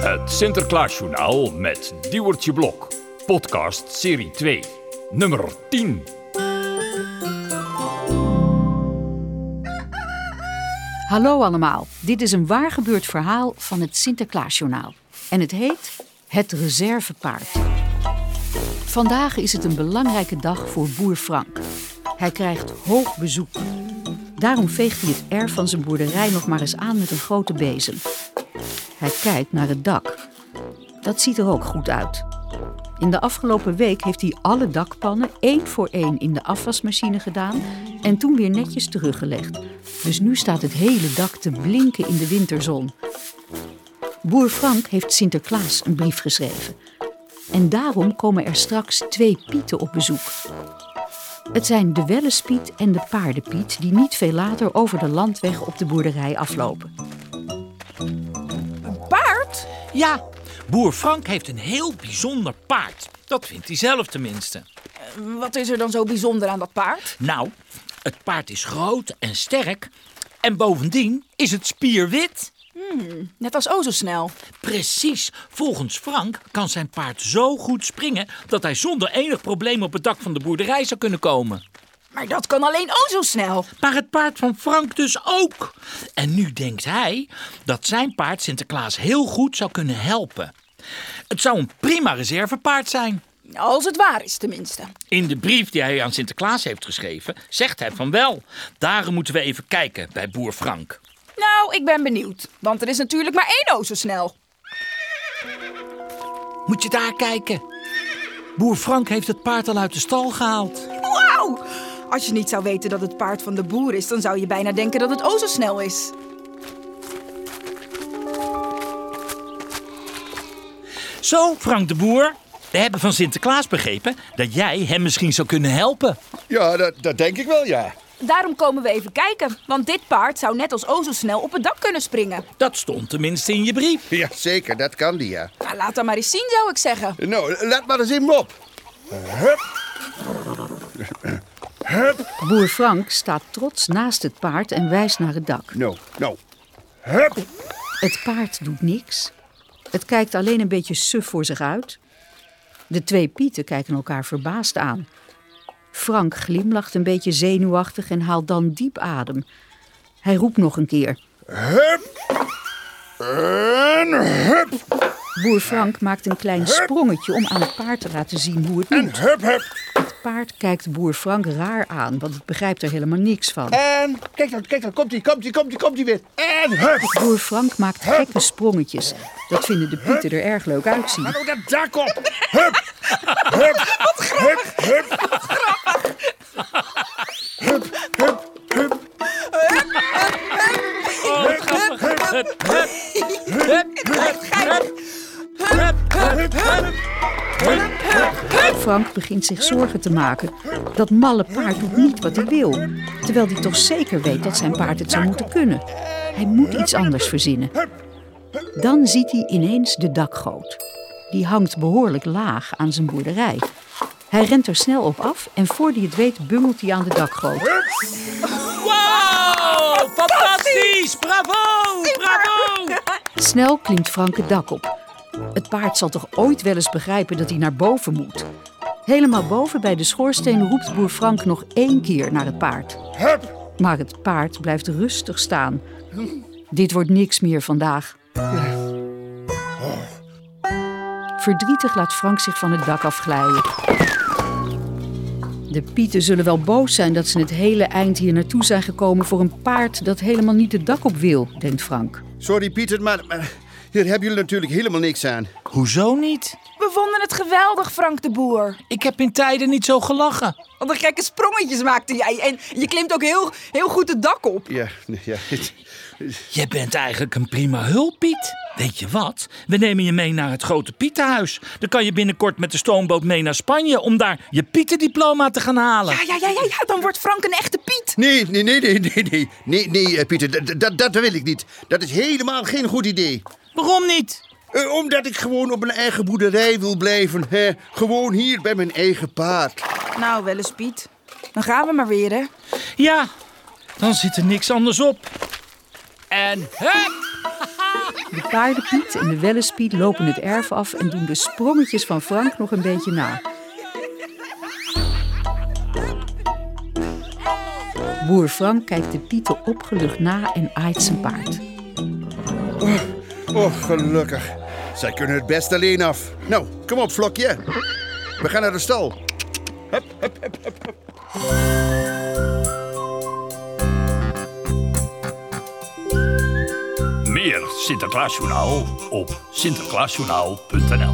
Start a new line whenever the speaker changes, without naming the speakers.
Het Sinterklaasjournaal met Diewertje Blok. Podcast serie 2, nummer 10.
Hallo allemaal, dit is een waargebeurd verhaal van het Sinterklaasjournaal. En het heet Het Reservepaard. Vandaag is het een belangrijke dag voor boer Frank. Hij krijgt hoog bezoek. Daarom veegt hij het erf van zijn boerderij nog maar eens aan met een grote bezem. Hij kijkt naar het dak. Dat ziet er ook goed uit. In de afgelopen week heeft hij alle dakpannen één voor één in de afwasmachine gedaan en toen weer netjes teruggelegd. Dus nu staat het hele dak te blinken in de winterzon. Boer Frank heeft Sinterklaas een brief geschreven. En daarom komen er straks twee Pieten op bezoek. Het zijn de Wellespiet en de Paardenpiet die niet veel later over de landweg op de boerderij aflopen.
paard?
Ja, boer Frank heeft een heel bijzonder paard. Dat vindt hij zelf tenminste.
Wat is er dan zo bijzonder aan dat paard?
Nou, het paard is groot en sterk. En bovendien is het spierwit.
Net als o zo snel.
Precies, volgens Frank kan zijn paard zo goed springen dat hij zonder enig probleem op het dak van de boerderij zou kunnen komen.
Maar dat kan alleen o zo snel.
Maar het paard van Frank dus ook. En nu denkt hij dat zijn paard Sinterklaas heel goed zou kunnen helpen. Het zou een prima reservepaard zijn.
Als het waar is tenminste.
In de brief die hij aan Sinterklaas heeft geschreven, zegt hij van wel. Daarom moeten we even kijken bij boer Frank.
Nou, ik ben benieuwd. Want er is natuurlijk maar één o zo snel.
Moet je daar kijken? Boer Frank heeft het paard al uit de stal gehaald.
Wauw! Als je niet zou weten dat het paard van de boer is, dan zou je bijna denken dat het o zo snel is.
Zo, Frank de Boer. We hebben van Sinterklaas begrepen dat jij hem misschien zou kunnen helpen.
Ja, dat, dat denk ik wel, ja.
Daarom komen we even kijken. Want dit paard zou net als o zo snel op het dak kunnen springen.
Dat stond tenminste in je brief.
Ja, zeker, dat kan die, ja.
Nou, laat dat maar eens zien, zou ik zeggen.
Nou, laat maar eens in me op.
Boer Frank staat trots naast het paard en wijst naar het dak.
Nou, nou. Hup.
Het paard doet niks. Het kijkt alleen een beetje suf voor zich uit. De twee Pieten kijken elkaar verbaasd aan. Frank glimlacht een beetje zenuwachtig en haalt dan diep adem. Hij roept nog een keer.
En hup,
Boer Frank maakt een klein sprongetje om aan het paard te laten zien hoe het moet.
hup, hup.
Het paard kijkt boer Frank raar aan, want het begrijpt er helemaal niks van.
En, kijk dan, kijk dan, komt die, komt die, komt die, komt die weer. En hup.
Boer Frank maakt gekke sprongetjes. Dat vinden de Pieten er erg leuk uitzien.
Nou, dat dak op. Hup. Hup. Wat grappig. Hup, hup. Hup, hup, hup.
Oh, wat grappig. Hup, hup, hup, hup, hup. Hup, hup, hup.
Frank begint zich zorgen te maken. Dat malle paard doet niet wat hij wil. Terwijl hij toch zeker weet dat zijn paard het zou moeten kunnen. Hij moet iets anders verzinnen. Dan ziet hij ineens de dakgoot. Die hangt behoorlijk laag aan zijn boerderij. Hij rent er snel op af en voor hij het weet bungelt hij aan de dakgoot.
Wow, fantastisch. Bravo, bravo.
Snel klimt Frank het dak op. Het paard zal toch ooit wel eens begrijpen dat hij naar boven moet. Helemaal boven bij de schoorsteen roept boer Frank nog één keer naar het paard.
Hup.
Maar het paard blijft rustig staan. Dit wordt niks meer vandaag. Verdrietig laat Frank zich van het dak afglijden. De pieten zullen wel boos zijn dat ze het hele eind hier naartoe zijn gekomen voor een paard dat helemaal niet het dak op wil, denkt Frank.
Sorry, Pieter, maar, maar hier hebben jullie natuurlijk helemaal niks aan.
Hoezo niet?
We vonden het geweldig, Frank de Boer.
Ik heb in tijden niet zo gelachen.
Wat een gekke sprongetjes maakte jij. En je klimt ook heel, heel goed het dak op.
Ja, ja.
Je bent eigenlijk een prima hulp, Piet. Weet je wat? We nemen je mee naar het grote Pietenhuis. Dan kan je binnenkort met de stoomboot mee naar Spanje om daar je Pietendiploma te gaan halen.
Ja, ja, ja, ja, ja, dan wordt Frank een echte Piet.
Nee, nee, nee, nee, nee, nee, nee, nee, eh, Pieter, dat- dat, dat wil ik niet. Dat is helemaal geen goed idee.
Waarom niet?
Eh, omdat ik gewoon op mijn eigen boerderij wil blijven. Hè? Gewoon hier bij mijn eigen paard.
Nou, wel eens Piet. Dan gaan we maar weer, hè.
Ja, dan zit er niks anders op. En hup!
De paardenpiet en de wellespiet lopen het erf af en doen de sprongetjes van Frank nog een beetje na. Boer Frank kijkt de pieten opgelucht na en aait zijn paard.
Oh, gelukkig. Zij kunnen het best alleen af. Nou, kom op, vlokje. We gaan naar de stal.
Meer Sinterklaasjournaal op sinterklaasjournaal.nl